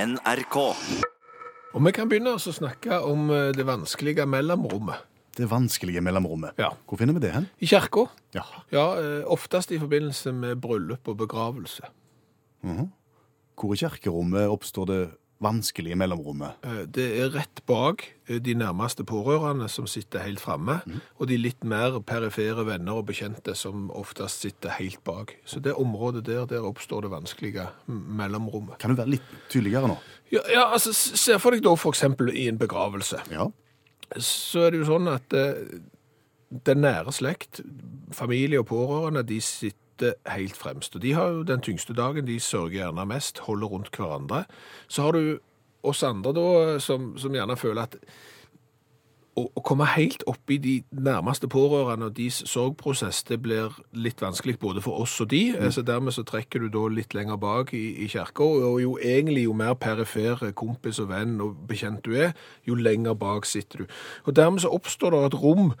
NRK. Og vi kan begynne å snakke om eh, det vanskelige mellomrommet. Det vanskelige mellomrommet. Ja. Hvor finner vi det hen? I kirka, Ja. ja, eh, oftest i forbindelse med bryllup og begravelse. Hvor i kirkerommet oppstår det vanskelige mellomrommet? Eh, Det er rett bak eh, de nærmeste pårørende som sitter helt framme, og de litt mer perifere venner og bekjente som oftest sitter helt bak. Så det området der, der oppstår det vanskelige m- mellomrommet. Kan du være litt tydeligere nå? Ja, ja altså, s- se for deg da for eksempel i en begravelse. Ja. så er det jo sånn at eh, den nære slekt, familie og pårørende, de sitter helt fremst. Og de har jo den tyngste dagen, de sørger gjerne mest, holder rundt hverandre. Så har du oss andre da, som, som gjerne føler at å, å komme helt opp i de nærmeste pårørende og deres sorgprosess, det blir litt vanskelig både for oss og de. Eh, Så dermed så trekker du da litt lenger bak i, i kirka, og jo egentlig jo mer perifer kompis og venn og bekjent du er, jo lenger bak sitter du. Og dermed så oppstår det et rom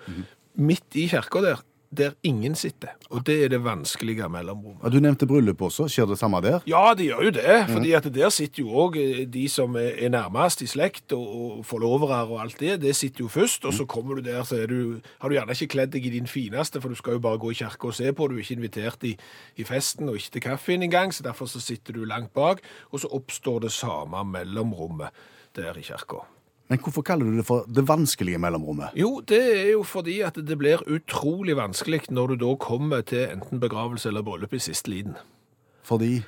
midt i kirka der, der ingen sitter. Og det er det vanskelige mellomrommet. Ja, Du nevnte bryllup også. Skjer det samme der? Ja, de gjør jo det. fordi at der sitter jo òg de som er er nærmest i slekt, og, og forlovere og alt det. Det sitter jo først, og så kommer du der, så er du, har du gjerne ikke kledd deg i din fineste, for du skal jo bare gå i kirka og se på. Du er ikke invitert i, i festen, og ikke til kaffen engang, så derfor så sitter du langt bak. Og så oppstår det samme mellomrommet der i kirka. Men hvorfor kaller du det for det vanskelige mellomrommet? Jo, det er jo fordi at det blir utrolig vanskelig når du da kommer til enten begravelse eller bryllup i siste liten. Fordi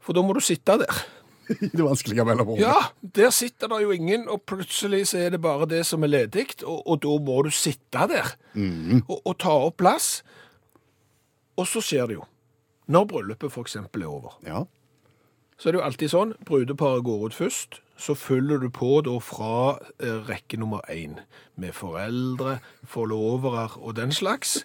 For da må du sitte der. Det vanskelige mellomrommet. Ja, der sitter det jo ingen, og plutselig så er det bare det som er ledig, og, og da må du sitte der og, og ta opp plass. Og så skjer det jo. Når bryllupet for eksempel er over, Ja. så er det jo alltid sånn, brudeparet går ut først, så følger du på da fra eh, rekke nummer én, med foreldre, forlovere og den slags.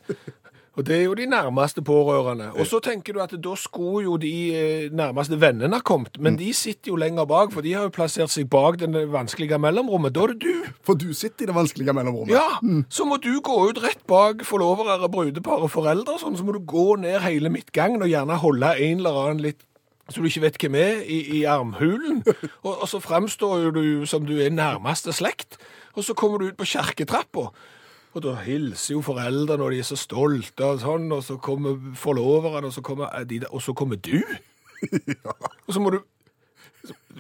Og det er jo de nærmeste pårørende. Og så tenker du at da skulle jo de eh, nærmeste vennene ha kommet, men de sitter jo lenger bak, for de har jo plassert seg bak den vanskelige mellomrommet. Da er det du. For du sitter i det vanskelige mellomrommet. Ja, så må du gå ut rett bak forlovere, brudepar og foreldre, og sånn, så må du gå ned hele midtgangen og gjerne holde en eller annen litt så du ikke vet hvem er, i, i armhulen. Og, og så fremstår jo du som du er nærmeste slekt. Og så kommer du ut på kjerketrappa, og da hilser jo foreldrene, og de er så stolte, og sånn, og så kommer forloveren, og så kommer, eh, de der, og så kommer du. Og så må du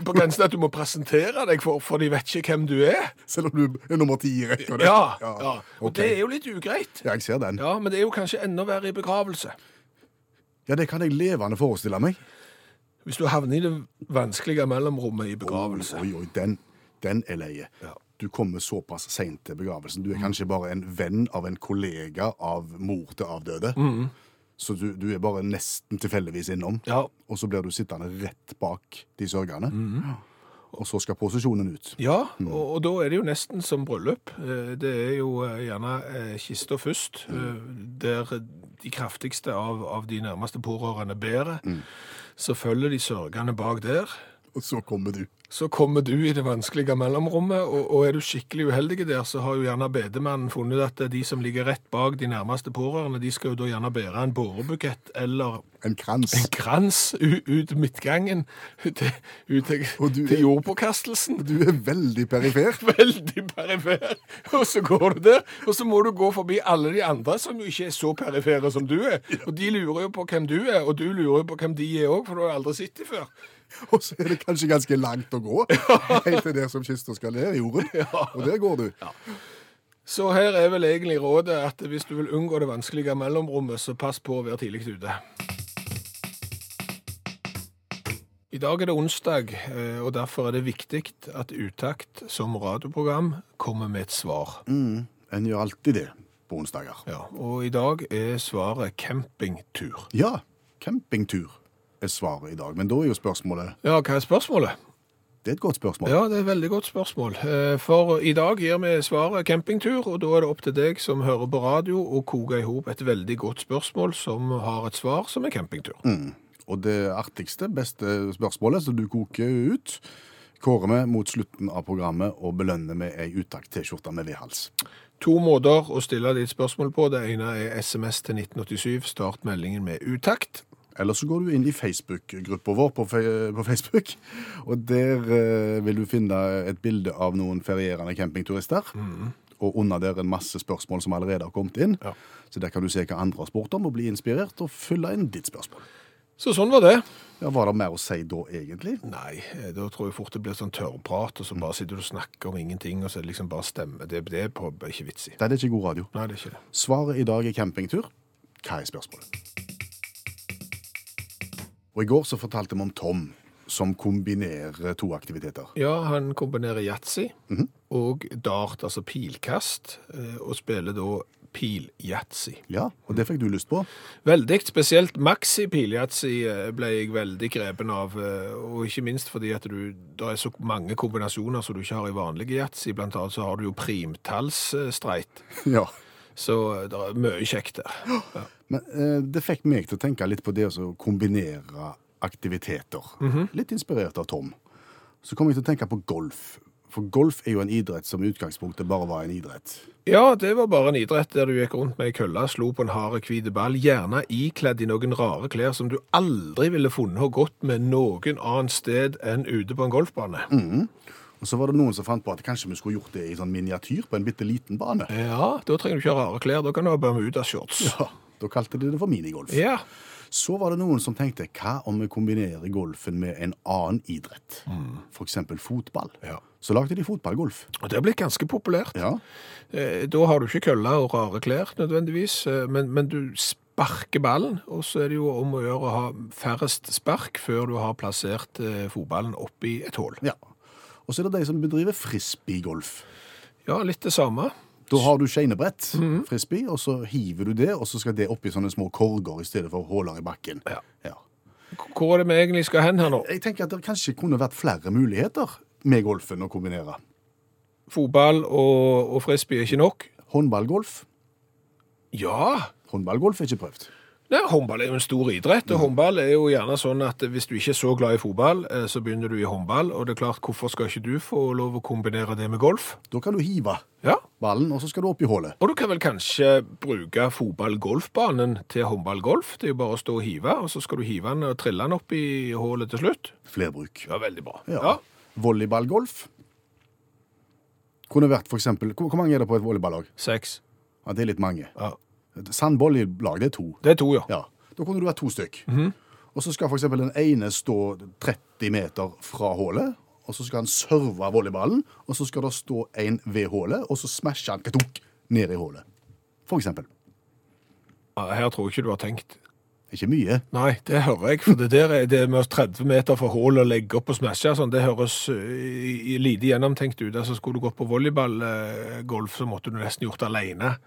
På grensen til at du må presentere deg, for, for de vet ikke hvem du er. Selv om du er nummer ti i rekka. der. Ja, ja. og Ok. det er jo litt ugreit. Ja, jeg ser den. Ja. Ja, men det er jo kanskje enda verre i begravelse. det kan jeg levende forestille meg. Hvis du havner i det vanskelige mellomrommet i begravelse. Oi, oi, den, den er leie. Ja. Mm. Du kommer såpass seint til begravelsen. Du er kanskje bare en venn av en kollega av mor til avdøde. Så du, du er bare nesten tilfeldigvis innom. Mm. Oh. Ja, Og så blir du sittende rett bak de sørgende. Og så skal posisjonen ut. Mm. ja og, og da er det jo nesten som bryllup. Eh, Det er jo eh, gjerne eh, kista først, eh, der de kraftigste av, av de nærmeste pårørende bærer. Så følger de sørgende bak der. Og så kommer du. Så kommer du i det vanskelige mellomrommet, og, og er du skikkelig uheldig der, så har jo gjerne bedemannen funnet at de som ligger rett bak de nærmeste pårørende, de skal jo da gjerne bære en bårebukett eller En krans. en krans u- ut midtgangen, ut til, ut til, Og du er- til jordpåkastelsen. Du er veldig perifer. Veldig perifer. Og så går du der, og så må du gå forbi alle de andre som jo ikke er så perifere som du er. Og de lurer jo på hvem du er, og du lurer jo på hvem de er òg, for du har aldri sittet før. Og så er det kanskje ganske langt å gå. Helt til der som kista skal ned i jorden. Og der går du. Så her er vel egentlig rådet at hvis du vil unngå det vanskelige mellomrommet, så pass på å være tidlig ute. I dag er det onsdag, eh, og derfor er det viktig at Utakt som radioprogram kommer med et svar. Mm. En gjør alltid det på onsdager. Ja, og i dag er svaret campingtur. Ja, campingtur er svaret i dag. Men da er jo spørsmålet Ja, hva er spørsmålet? Det er et godt spørsmål. Ja, det er et veldig godt spørsmål. Eh, For i dag gir vi svaret campingtur, og da er det opp til deg som hører på radio å koke i hop et veldig godt spørsmål som har et svar som er campingtur. Og det artigste, beste spørsmålet som du koker ut, kårer vi mot slutten av programmet og belønner med ei utakt-T-skjorte med V-hals. To måter å stille ditt spørsmål på. Det ene er SMS til 1987. Start meldingen med utakt. Eller så går du inn i Facebook-gruppa vår på, fe- på Facebook, og der eh, vil du finne et bilde av noen ferierende campingturister. Og under der en masse spørsmål som allerede har kommet inn. Mm. Ja. Så der kan du se hva andre har spurt om, og bli inspirert og fylle inn ditt spørsmål. Så sånn var det. Ja, Var det mer å si da, egentlig? Nei, eh, da tror jeg fort det blir sånn tørrprat, og så bare sitter du og snakker om ingenting, og så er det liksom bare stemme. Det, det er på, ikke vits i. Nei, det er ikke god radio. Nei, det er ikke det. Svaret i dag er campingtur. Hva er spørsmålet? Og I går så fortalte vi om Tom, som kombinerer to aktiviteter. Ja, han kombinerer yatzy og dart, altså pilkast, eh, og spiller da pil-yatzy. Ja, Og det fikk du lyst på. Veldig, spesielt maxi piljatsi ble jeg veldig grepen av, eh, og ikke minst fordi at du, det er så mange kombinasjoner som du ikke har i vanlige jatsi, blant annet så har du jo primtallsstreit, Ja. så eh, det er mye kjekt der. Men eh, det fikk meg til å tenke litt på det å så kombinere aktiviteter. Litt inspirert av Tom. Så kom jeg til å tenke på golf. For golf er jo en idrett som i utgangspunktet bare var en idrett. Ja, det var bare en idrett der du gikk rundt med ei kølle, slo på en hard, hvit ball, gjerne ikledd i noen rare klær som du aldri ville funnet og gått med noen annet sted enn ute på en golfbane. Og så var det noen som fant på at kanskje vi skulle gjort det i sånn miniatyr på en bitte liten bane. Ja, da trenger du ikke ha rare klær, da kan du ha Bermuda-shorts. Ja, Da kalte de det for minigolf. Ja. Så var det noen som tenkte hva om vi kombinerer golfen med en annen idrett? For eksempel fotball. Mm. Ja. Så lagde de fotballgolf. Og det er blitt ganske populært. Ja. Eh, Da har du ikke kølla og rare klær nødvendigvis, eh, men, men du sparker ballen, og så er det jo om å gjøre å ha færrest spark før du har plassert eh, fotballen oppi et hull. ja. Og så er det de som bedriver frisbeegolf. Ja, litt det samme. Da har du skeinebrett, Mm. frisbee, og så hiver du det, og så skal det oppi sånne små korger i stedet for huller i bakken. Ja. Ja. K- Hvor er det vi egentlig skal hen her nå? Jeg tenker at det kanskje kunne vært flere muligheter med golfen å kombinere. Fotball og, og frisbee er ikke nok? Håndballgolf. Ja! Håndballgolf er ikke prøvd. Nei, håndball er jo en stor idrett, og håndball er jo gjerne sånn at hvis du ikke er så glad i fotball, eh, så begynner du i håndball, og det er klart, hvorfor skal ikke du få lov å kombinere det med golf? Da kan du hive Ja, ballen, og så skal du opp i hullet. Og du kan vel kanskje bruke fotball-golfbanen til håndball-golf? Det er jo bare å stå og hive, og så skal du hive den og trille den opp i hullet til slutt. Flerbruk. Ja, veldig bra. Ja. Volleyballgolf. Kunne vært for eksempel, hvor, hvor mange er det på et volleyballag? Seks. Ja, det er litt mange. Ja. Et Sandvolleyballag, det er to. Det er to, ja. Ja, Da kunne du vært to stykk. Mhm. Og så skal for eksempel den ene stå 30 meter fra hullet, og så skal han serve volleyballen, og så skal det stå en ved hullet, og så smasher han katunk ned i hullet. For eksempel. Ja, Her tror jeg ikke du har tenkt. Ikke mye. Nei, det hører jeg, for det der er det med oss 30 meter fra hullet og legge opp og smashe, sånn, det høres eh, i- lite gjennomtenkt ut. Altså, skulle du gått på volleyball-golf, så måtte du nesten gjort det alene.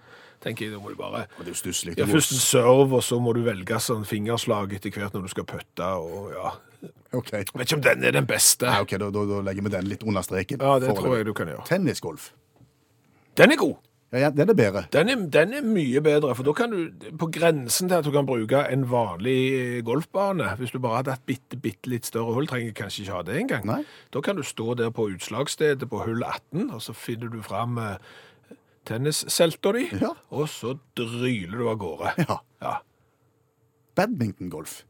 Tenker jeg, da må du bare... Og det er jo stusslig. Ja, først en serve, og så må du velge sånn fingerslag etter hvert når du skal pøtte, og ja. Ok, Jeg vet ikke om den er den beste. Ja, ok, da, da, da legger vi den litt under streken. Ja, det tror jeg du kan gjøre. Tennisgolf. Den er god. Ja, ja, den er bedre. Den er, den er mye bedre, for da kan du på grensen til at du kan bruke en vanlig eh, golfbane. Hvis du bare hadde hatt bitte, bitte litt større hull, trenger jeg kanskje ikke ha det engang. Nei. Da kan du stå der på utslagsstedet på hull 18, og så finner du fram eh, tennisselta di, Ja. og så dryler du av gårde. Ja. Ja. badmintongolf.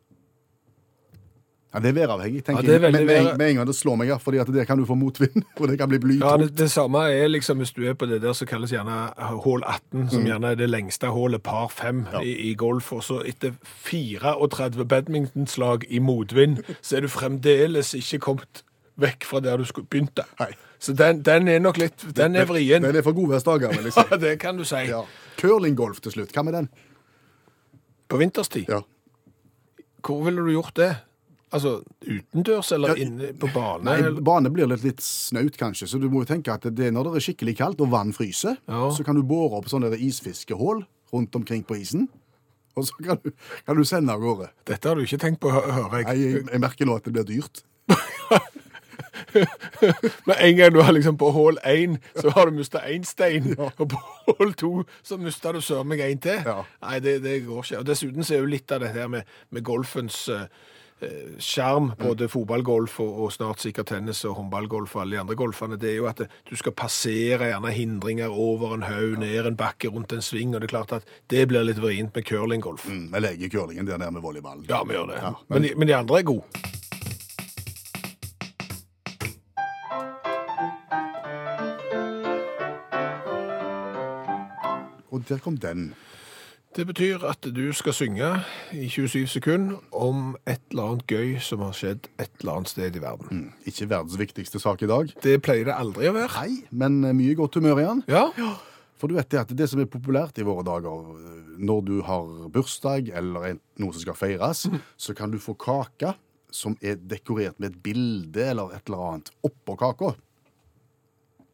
Ja, det er væravhengig, tenker Ja, det er jeg. veldig Men med en, vær- med en gang det slår meg, ja, fordi at der kan du få motvind, og det kan bli blytung. Ja, det, det samme er liksom hvis du er på det der som kalles gjerne hull 18, Mm. som gjerne er det lengste hullet par 5 i, i golf, og så etter 34 badmintonslag i motvind, så er du fremdeles ikke kommet vekk fra der du skulle begynte. Nei. Så den, den er nok litt, den er vrien. Den er for godværsdager, men liksom. Ja, det kan du si. Ja. Curlinggolf til slutt, hva med den? På vinterstid, Ja. hvor ville du gjort det? Altså, utendørs eller Ja, i- inne på bane? Nei, eller- bane blir litt, litt snaut, kanskje, så du må jo tenke at det er når det er skikkelig kaldt og vann fryser, Ja. så kan du bore opp sånne der isfiskehål rundt omkring på isen, og så kan du, kan du sende av gårde. Dette har du ikke tenkt på, hø- hører jeg. Nei, jeg, jeg merker nå at det blir dyrt. Med en gang du er liksom på hull én, så har du mista én stein. Og på hull to så mister du søren meg én til. Ja. Nei, det, det går ikke. Og Dessuten så er jo litt av dette her med, med golfens eh, eh, skjerm, Mm. både fotballgolf og, og snart sikkert tennis og håndballgolf og alle de andre golfene, det er jo at eh, du skal passere gjerne hindringer over en haug, ned en bakke, rundt en sving, og det er klart at det blir litt vrient med curlinggolf. Mm, jeg legger curlingen der nede med volleyballen. Ja, vi gjør det. Ja, men... de, men de andre er gode. Og der kom den. Det betyr at du skal synge i 27 sekunder om et eller annet gøy som har skjedd et eller annet sted i verden. Mm, Ikke verdens viktigste sak i dag. Det pleier det aldri å være. Nei, men eh, mye godt humør i den. Ja, For du vet det at det som er populært i våre dager, eh, når du har bursdag eller en- noe som skal feires, Mm. så kan du få kake som er dekorert med et bilde eller et eller annet oppå kaka.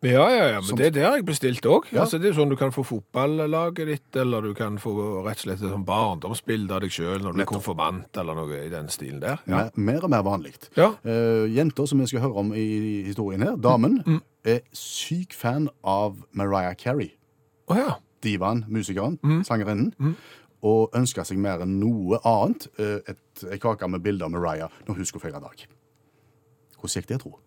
ja, ja, ja men Som- det er det har jeg bestilt òg. Ja. Altså, det er jo sånn du kan få fotballaget ditt, eller du kan få rett og slett et sånn barndomsbilde av deg sjøl når du er konfirmant, eller noe i den stilen der. Ja. Mer, mer og mer vanlig. Ja. Eh, jenter, som vi skal høre om i historien her, damen, Mm. er syk fan av Mariah Carey. Å ja. divaen, musikeren, sangerinnen, og ønska seg mer enn noe annet eh, et, ei kake med bilder av Mariah når hun skulle feire dag. Hvordan gikk det, tro?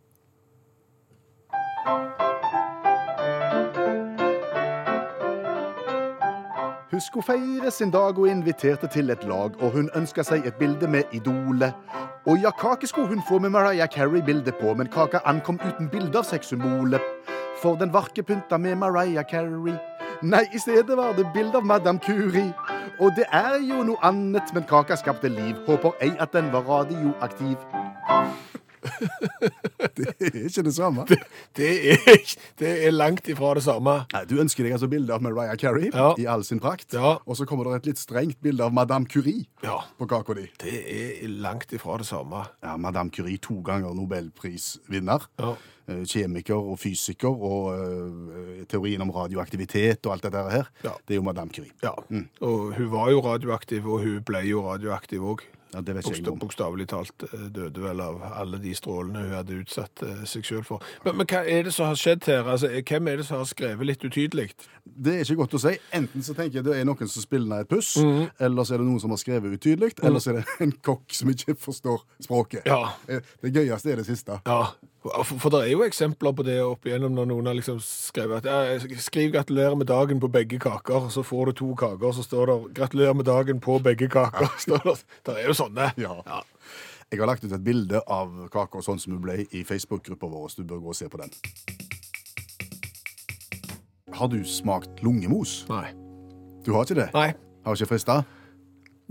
Hun skulle feire sin dag og inviterte til et lag, og hun ønska seg et bilde med idolet. Og ja, kake skulle hun få med Mariah Carey-bilde på, men kaka ankom uten bilde av sexsymbolet. For den var ikke pynta med Mariah Carey. Nei, i stedet var det bilde av Madame Curie. Og det er jo noe annet, men kaka skapte liv. Håper ei at den var radioaktiv. det er ikke det samme. Det er, ikke- det er langt ifra det samme. Nei, Du ønsker deg altså bilde av Mariah Carey Ja. i all sin prakt, Ja. og så kommer det et litt strengt bilde av Madame Curie Ja. på kaka di. Det er langt ifra det samme. Ja, Madame Curie, to ganger nobelprisvinner. Ja. Eh, Kjemiker og fysiker og eh, teorien om radioaktivitet og alt det der her. Ja. Det er jo Madame Curie. Ja. Og hun var jo radioaktiv, og hun ble jo radioaktiv òg. Ja, det vet ikke jeg Boksta- noe om. Bokstavelig talt eh, døde vel av alle de strålene hun hadde utsatt eh, seg sjøl for. Men, men hva er det som har skjedd her? Altså, eh, hvem er det som har skrevet litt utydelig? Det er ikke godt å si. Enten så tenker jeg det er noen som spiller ned et puss, Mhm. eller så er det noen som har skrevet utydelig, eller så er det en kokk som ikke forstår språket. Ja. Eh, Det gøyeste er det siste. Ja. For, for det er jo eksempler på det opp igjennom når noen har liksom skrevet at ja, 'Skriv 'gratulerer med dagen' på begge kaker', så får du to kaker, så står det 'gratulerer med dagen på begge kaker'. Står det, det er jo sånne. Ja. Jeg har lagt ut et bilde av kaka sånn som hun ble i Facebook-gruppa vår. så Du bør gå og se på den. Har du smakt lungemos? Nei. Du har ikke det? Nei. Har ikke frista?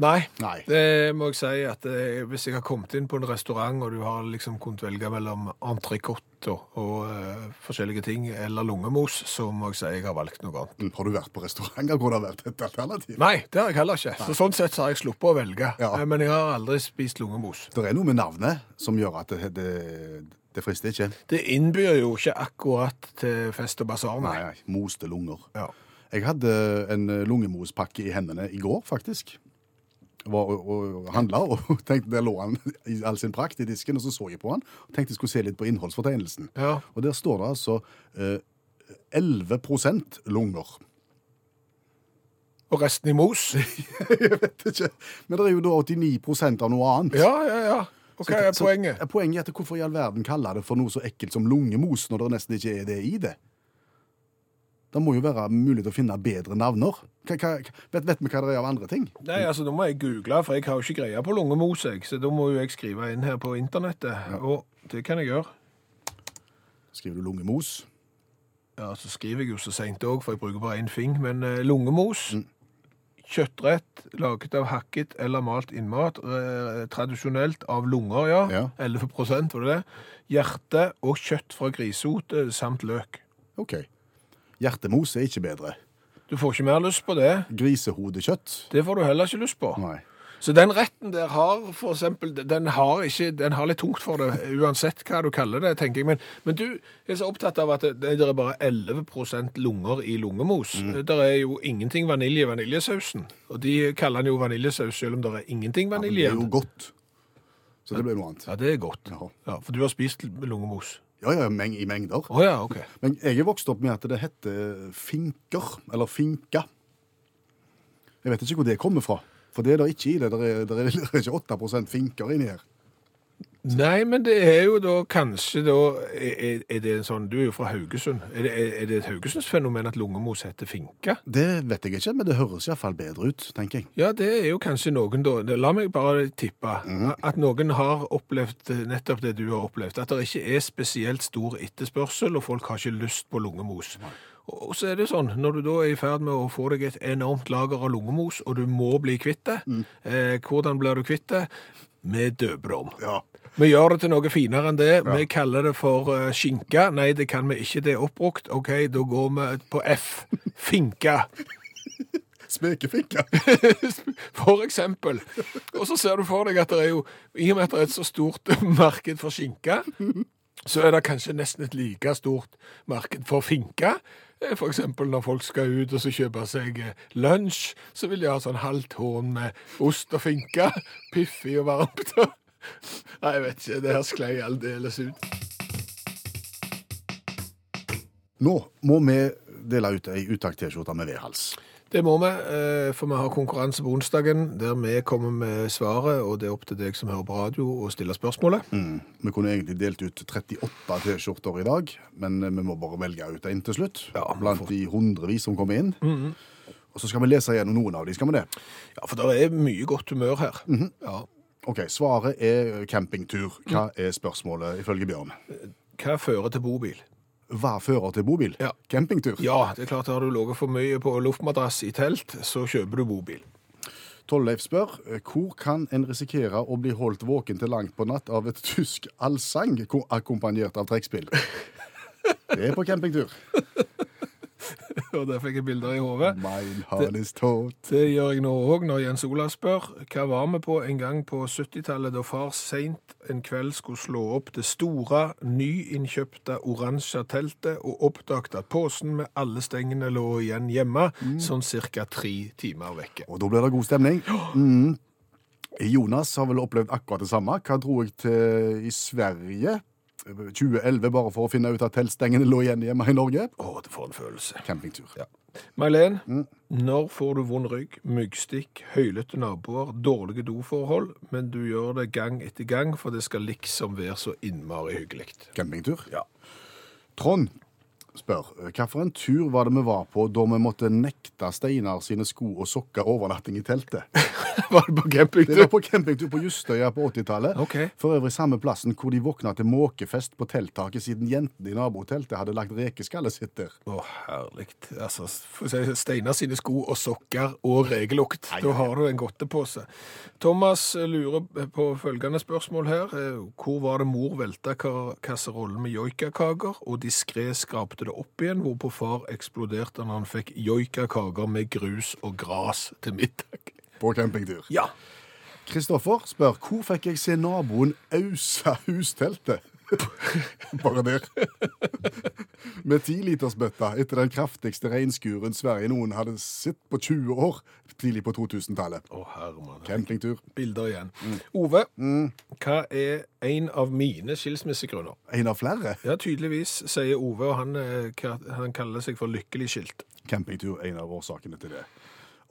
Nei. Nei. Det må jeg si at eh, hvis jeg har kommet inn på en restaurant, og du har liksom kunnet velge mellom entrecôte og, og eh, forskjellige ting, eller lungemos, så må jeg si jeg har valgt noe annet. Har du vært på restauranter hvor det har vært et alternativ? Nei, det har jeg heller ikke. Så sånn sett så har jeg sluppet å velge. Ja. Eh, Men jeg har aldri spist lungemos. Det er noe med navnet som gjør at det, det, det frister ikke. Det innbyr jo ikke akkurat til fest og basar, nei. Nei, nei. Moste lunger. Ja. Jeg hadde en eh, lungemospakke i hendene i går, faktisk. Var og, og handla, og tenkte der lå han i all sin prakt i disken, og så så jeg på han. og Tenkte jeg skulle se litt på innholdsfortegnelsen. Ja. Og der står det altså eh, 11 lunger. Og resten i mos? jeg vet ikke. Men det er jo da 89 av noe annet. Ja, ja, ja. Og hva er Så- poenget? Ja, poenget er at hvorfor i all verden kaller det for noe så ekkelt som lungemos, når det nesten ikke er det i det? Det må jo være mulig til å finne bedre navner. Hva, hva, vet, vet vi hva det er av andre ting? Nei, altså, Da må jeg google, for jeg har jo ikke greie på lungemos. jeg, Så da må jo jeg skrive inn her på internettet. Og det kan jeg gjøre. Skriver du lungemos? Ja, så skriver jeg jo så seint òg, for jeg bruker bare én fing. Men eh, lungemos, Mm. kjøttrett laget av hakket eller malt innmat, eh, tradisjonelt av lunger, ja. Ja. 11 var det det? Hjerte og kjøtt fra grisehote samt løk. Ok. Hjertemos er ikke bedre. Du får ikke mer lyst på det. Grisehodekjøtt? Det får du heller ikke lyst på. Nei. Så den retten der har for eksempel, den har, ikke, den har litt tungt for det, uansett hva du kaller det, tenker jeg. Men, men du er så opptatt av at det, det er bare 11 lunger i lungemos. Mm. Det er jo ingenting vanilje i vaniljesausen. Og de kaller den jo vaniljesaus selv om det er ingenting Men vanilje det er i jo den. godt. Så det blir noe annet. Ja, det er godt. Ja. Ja, for du har spist lungemos. Ja, ja, meng i mengder. Å ja, OK. Men jeg er vokst opp med at det heter finker, eller finka. Jeg vet ikke hvor det kommer fra. For det er det ikke i det. Det er, det er ikke 8 finker inni her. Nei, men det er jo da kanskje da Er, er- er det en sånn Du er jo fra Haugesund. Er det, er- er det et Haugesundsfenomen at lungemos heter finke? Det vet jeg ikke, men det høres iallfall bedre ut, tenker jeg. Ja, det er jo kanskje noen da det- La meg bare tippe at noen har opplevd eh, nettopp det du har opplevd. At det ikke er spesielt stor etterspørsel, og folk har ikke lyst på lungemos. Og og så er det sånn, når du da er i ferd med å få deg et enormt lager av lungemos, og du må bli kvitt det, eh, hvordan blir du kvitt det? Med døbrom. Ja. Vi gjør det til noe finere enn det. Vi kaller det for eh, skinke. Nei, det kan vi ikke. Det er oppbrukt. OK, da går vi på F. Finke. Spekefinke. For eksempel. Og så ser du for deg at det er jo I og med at det er et så stort marked for skinke, så er det kanskje nesten et like stort marked for finke. Eh, For eksempel når folk skal ut og så kjøpe seg eh, lunsj, så vil de ha sånn halvt horn med ost og finke. Piffig og varmt. Nei, jeg vet ikke. Det her sklei aldeles ut. Nå må vi dele ut ei utakt-T-skjorte med V-hals. Det må vi, eh, for vi har konkurranse på onsdagen, der vi kommer med svaret, og det er opp til deg som hører på radio å stille spørsmålet. Vi kunne egentlig delt ut 38 T-skjorter i dag, men eh, vi må bare velge ut en til slutt. Ja, vi Mhm. blant de hundrevis som kommer inn. Og så skal vi lese gjennom noen av de, skal vi det? Ja, for det er mye godt humør her. ja. Ok, Svaret er eh, campingtur. Mhm. Hva er spørsmålet ifølge Bjørn? Hva fører til bobil? Hva fører til bobil? Ja. Campingtur. Ja, det er klart har du ligget for mye på luftmadrass i telt, så kjøper du bobil. Tollleif spør eh, hvor kan en risikere å bli holdt våken til langt på natt av et tysk allsang ko- akkompagnert av trekkspill? Det er på campingtur. Og der fikk jeg bilder i hodet. Mein Hahn ist tot. Det gjør jeg nå òg, når Jens Olav spør. Hva var vi på en gang på 70-tallet, da far seint en kveld skulle slå opp det store, nyinnkjøpte oransje teltet, og oppdaget at posen med alle stengene lå igjen hjemme, sånn ca. tre timer vekke. Og da blir det god stemning. Mm. Jonas har vel opplevd akkurat det samme. Hva dro jeg til i Sverige? 2011, bare for å finne ut at teltstengene lå igjen hjemme i Norge. Å, det får en følelse. Campingtur. Mailen, Mm. når får du vond rygg, myggstikk, høylete naboer, dårlige doforhold, men du gjør det gang etter gang, for det skal liksom være så innmari hyggelig. Campingtur. Ja. Trond spør hva for en tur var det vi var på da vi måtte nekte Steinar sine sko og sokker overnatting i teltet. Var det på Det var campingtur? på campingtur på Justøya på 80-tallet. Ok. For øvrig samme plassen hvor de våkna til måkefest på telttaket siden jentene i naboteltet hadde lagt rekeskallet sitt der. Å, herlig. Altså, for å si, Steinar sine sko og sokker og regelukt. Da har du en godtepose. Thomas eh, lurer på følgende spørsmål her. Eh, Hvor var det mor velta ka- kasserollen med joikakaker, og diskré skrapte det opp igjen, hvorpå far eksploderte når han fikk joikakaker med grus og gras til middag? På campingtur. Ja. Kristoffer spør hvor fikk jeg se naboen ausa husteltet? Bare der. Med tilitersbøtta etter den kraftigste regnskuren Sverige noen hadde sett på 20 år tidlig på 2000-tallet. Å, Herman. Campingtur. Bilder igjen. Ove, hva er en av mine skilsmissegrunner? En av flere. Ja, tydeligvis, sier Ove, og han, eh, ka- han kaller seg for lykkelig skilt. Campingtur en av årsakene til det.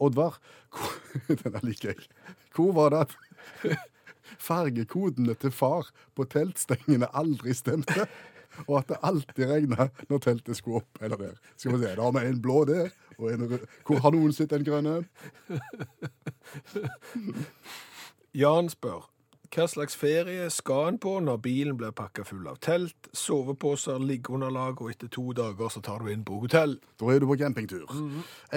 Oddvar, hvor, denne liker jeg. Hvor var det at fargekodene til far på teltstengene aldri stemte? Og at det alltid regna når teltet skulle opp eller ned. Skal vi se, Da har vi en blå der, og en rød. Hvor har noen sett den grønne? Jan spør hva slags ferie skal en på når bilen blir pakka full av telt, soveposer, liggeunderlag, og etter to dager så tar du inn på hotell? Da er du på campingtur.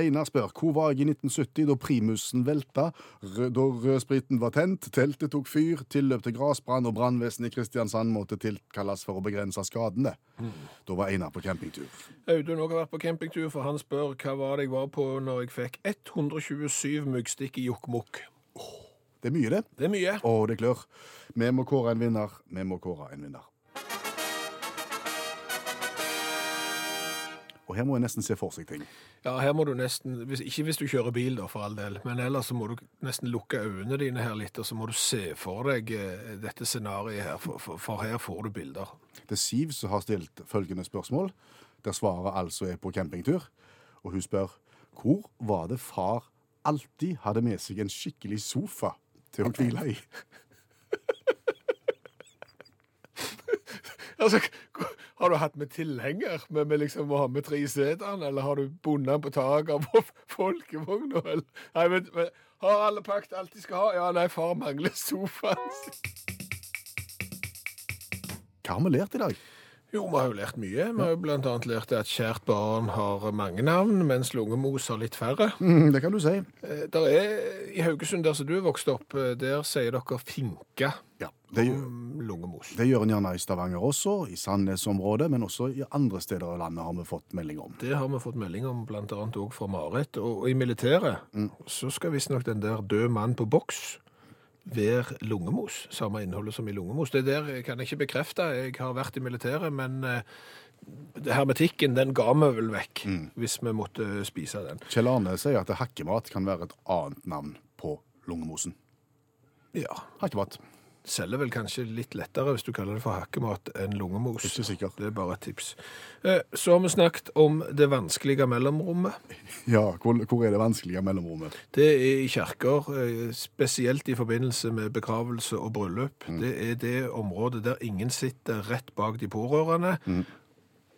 Einar spør hvor var jeg i 1970 da primusen velta, rø- da rødspriten var tent, teltet tok fyr, tilløp til grasbrann og brannvesenet i Kristiansand måtte tilkalles for å begrense skadene. Da var Einar på campingtur. Audun òg har vært på campingtur, for han spør hva var det jeg var på når jeg fikk 127 myggstikk i jokkmokk. Det er mye, det. Det er mye. Å, det klør. Vi må kåre en vinner. Vi må kåre en vinner. Og her må jeg nesten se for seg ting. Ja, her må du nesten, hvis, Ikke hvis du kjører bil, da, for all del, men ellers så må du nesten lukke øynene dine her litt, og så må du se for deg eh, dette scenarioet her, for, for, for her får du bilder. Det er Siv som har stilt følgende spørsmål, der svaret altså er på campingtur. Og hun spør hvor var det far alltid hadde med seg en skikkelig sofa til å hvile i? Altså, k- har du hatt med tilhenger med, med liksom å ha med tre seter, eller har du bundet den på taket av f- folkevogna? eller? Nei, men, men har alle pakket alt de skal ha? Ja, nei, far mangler sofaen. Hva har vi lært i dag? Jo, vi har jo lært mye. Vi har jo blant annet lært at kjært barn har mange navn, mens lungemos har litt færre. Mm, det kan du si. Eh, Der er, I Haugesund, der som du er vokst opp, eh, der sier dere finke Ja, det, gjør- om lungemos. det gjør en gjerne i Stavanger også, i Sandnes-området, men også i andre steder av landet har vi fått melding om. Det har vi fått melding om bl.a. òg fra Marit. Og og i militæret så skal visstnok den der død mann på boks være lungemos. Samme innholdet som i lungemos. Det der kan jeg ikke bekrefte. Jeg har vært i militæret, men eh, hermetikken den ga vi vel vekk hvis vi måtte spise den. Kjell Arne sier at hakkemat kan være et annet navn på lungemosen. Ja, Hakkemat. Selger vel kanskje litt lettere hvis du kaller det for hakkemat enn lungemos. Ikke sikker. Det er bare et tips. Eh, Så har vi snakket om det vanskelige mellomrommet. Ja, hvor, hvor er det vanskelige mellomrommet? Det er i kjerker, eh, spesielt i forbindelse med begravelse og bryllup. Det er det området der ingen sitter rett bak de pårørende,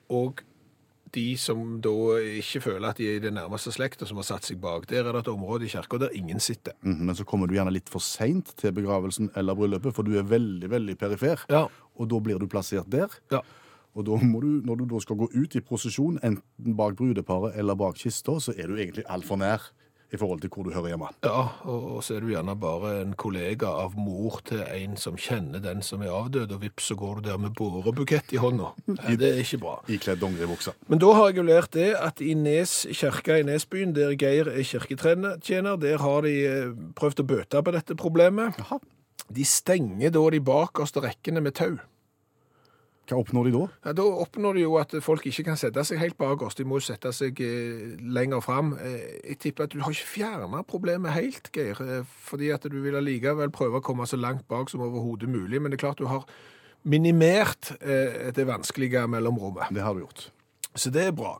og de som da ikke føler at de er i det nærmeste slekta som har satt seg bak. Der er det et område i kjerker der ingen sitter. Mhm, men så kommer du gjerne litt for seint til begravelsen eller bryllupet, for du er veldig, veldig perifer. Ja. Og da blir du plassert der. Ja. Og da må du, når du da skal gå ut i prosesjon, enten bak brudeparet eller bak kista, så er du egentlig altfor nær i forhold til hvor du hører hjemme. Ja, og, og så er du gjerne bare en kollega av mor til en som kjenner den som er avdød, og vips så går du der med bårebukett i hånda. Nei, Det er ikke bra. Ikledd dongeribukse. Men da har jeg jo lært det at i Nes kirke i Nesbyen, der Geir er kirketjener, der har de eh, prøvd å bøte på dette problemet. Jaha. De stenger da de bakerste rekkene med tau. Hva oppnår de da? Ja, da oppnår du jo at folk ikke kan sette seg helt bakerst, de må jo sette seg eh, lenger fram. Eh, jeg tipper at du har ikke fjernet problemet helt, Geir, eh, fordi at du vil allikevel prøve å komme så langt bak som overhodet mulig, men det er klart du har minimert eh, det vanskelige mellomrommet. Det har du gjort. Så det er bra.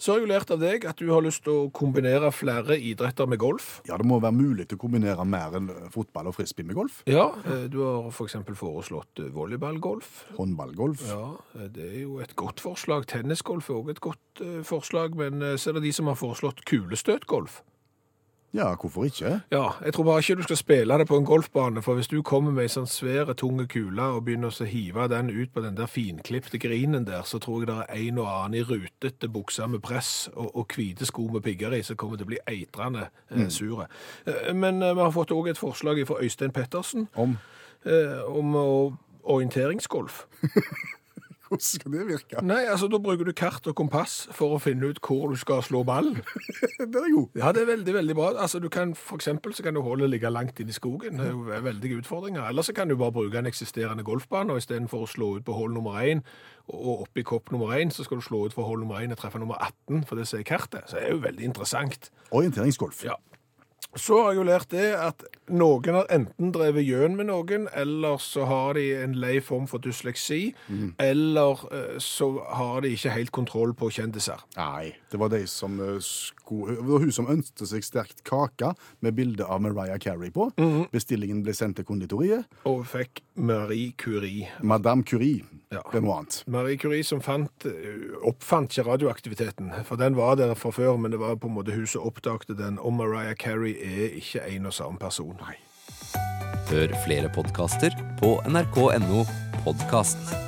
Så har jeg jo lært av deg at du har lyst til å kombinere flere idretter med golf. Ja, det må være mulig til å kombinere mer enn eh, fotball og frisbee med golf. Ja. Eh, Du har f.eks. For foreslått eh, volleyballgolf. Håndballgolf. Ja, eh, det er jo et godt forslag. Tennisgolf er òg et godt eh, forslag, men eh, så er det de som har foreslått kulestøtgolf. Ja, hvorfor ikke? Ja, jeg tror bare ikke du skal spille det på en golfbane, for hvis du kommer med ei sånn svære, tunge kule og begynner å hive den ut på den der finklipte grinen der, så tror jeg det er en og annen i rutete bukser med press og, og hvite sko med pigger i som kommer til å bli eitrende eh, sure. Eh, Men eh, vi har fått òg et forslag fra Øystein Pettersen Om eh, om å orienteringsgolf. hvordan skal det virke? Nei, altså da bruker du kart og kompass for å finne ut hvor du skal slå ballen. Den er god. Ja, det er veldig, veldig bra. Altså, du kan, for eksempel så kan du holde ligge langt inn i skogen. Det er jo ve- veldige utfordringer. Eller så kan du bare bruke en eksisterende golfbane, og i stedet for å slå ut på hål nummer 1 og opp i kopp nummer 1, så skal du slå ut for hål nummer 1 og treffe nummer 18, for det ser kartet. Så det er jo veldig interessant. Orienteringsgolf. Ja. Så har jeg jo lært det at noen har enten drevet gjøn med noen, eller så har de en lei form for dysleksi, eller eh, så har de ikke helt kontroll på kjendiser. Nei, det var de som eh, sko... Det var hun som ønsket seg sterkt kake med bilde av Mariah Carey på. Bestillingen ble sendt til konditoriet. Og fikk Marie Curie Madame Curie Ja. ble noe annet. Marie Curie som fant, eh, oppfant ikke radioaktiviteten, for den var der fra før, men det var på en måte hun som oppdagte den, og Mariah Carey er ikke en og samme person. Hør flere podkaster på nrk.no podkast.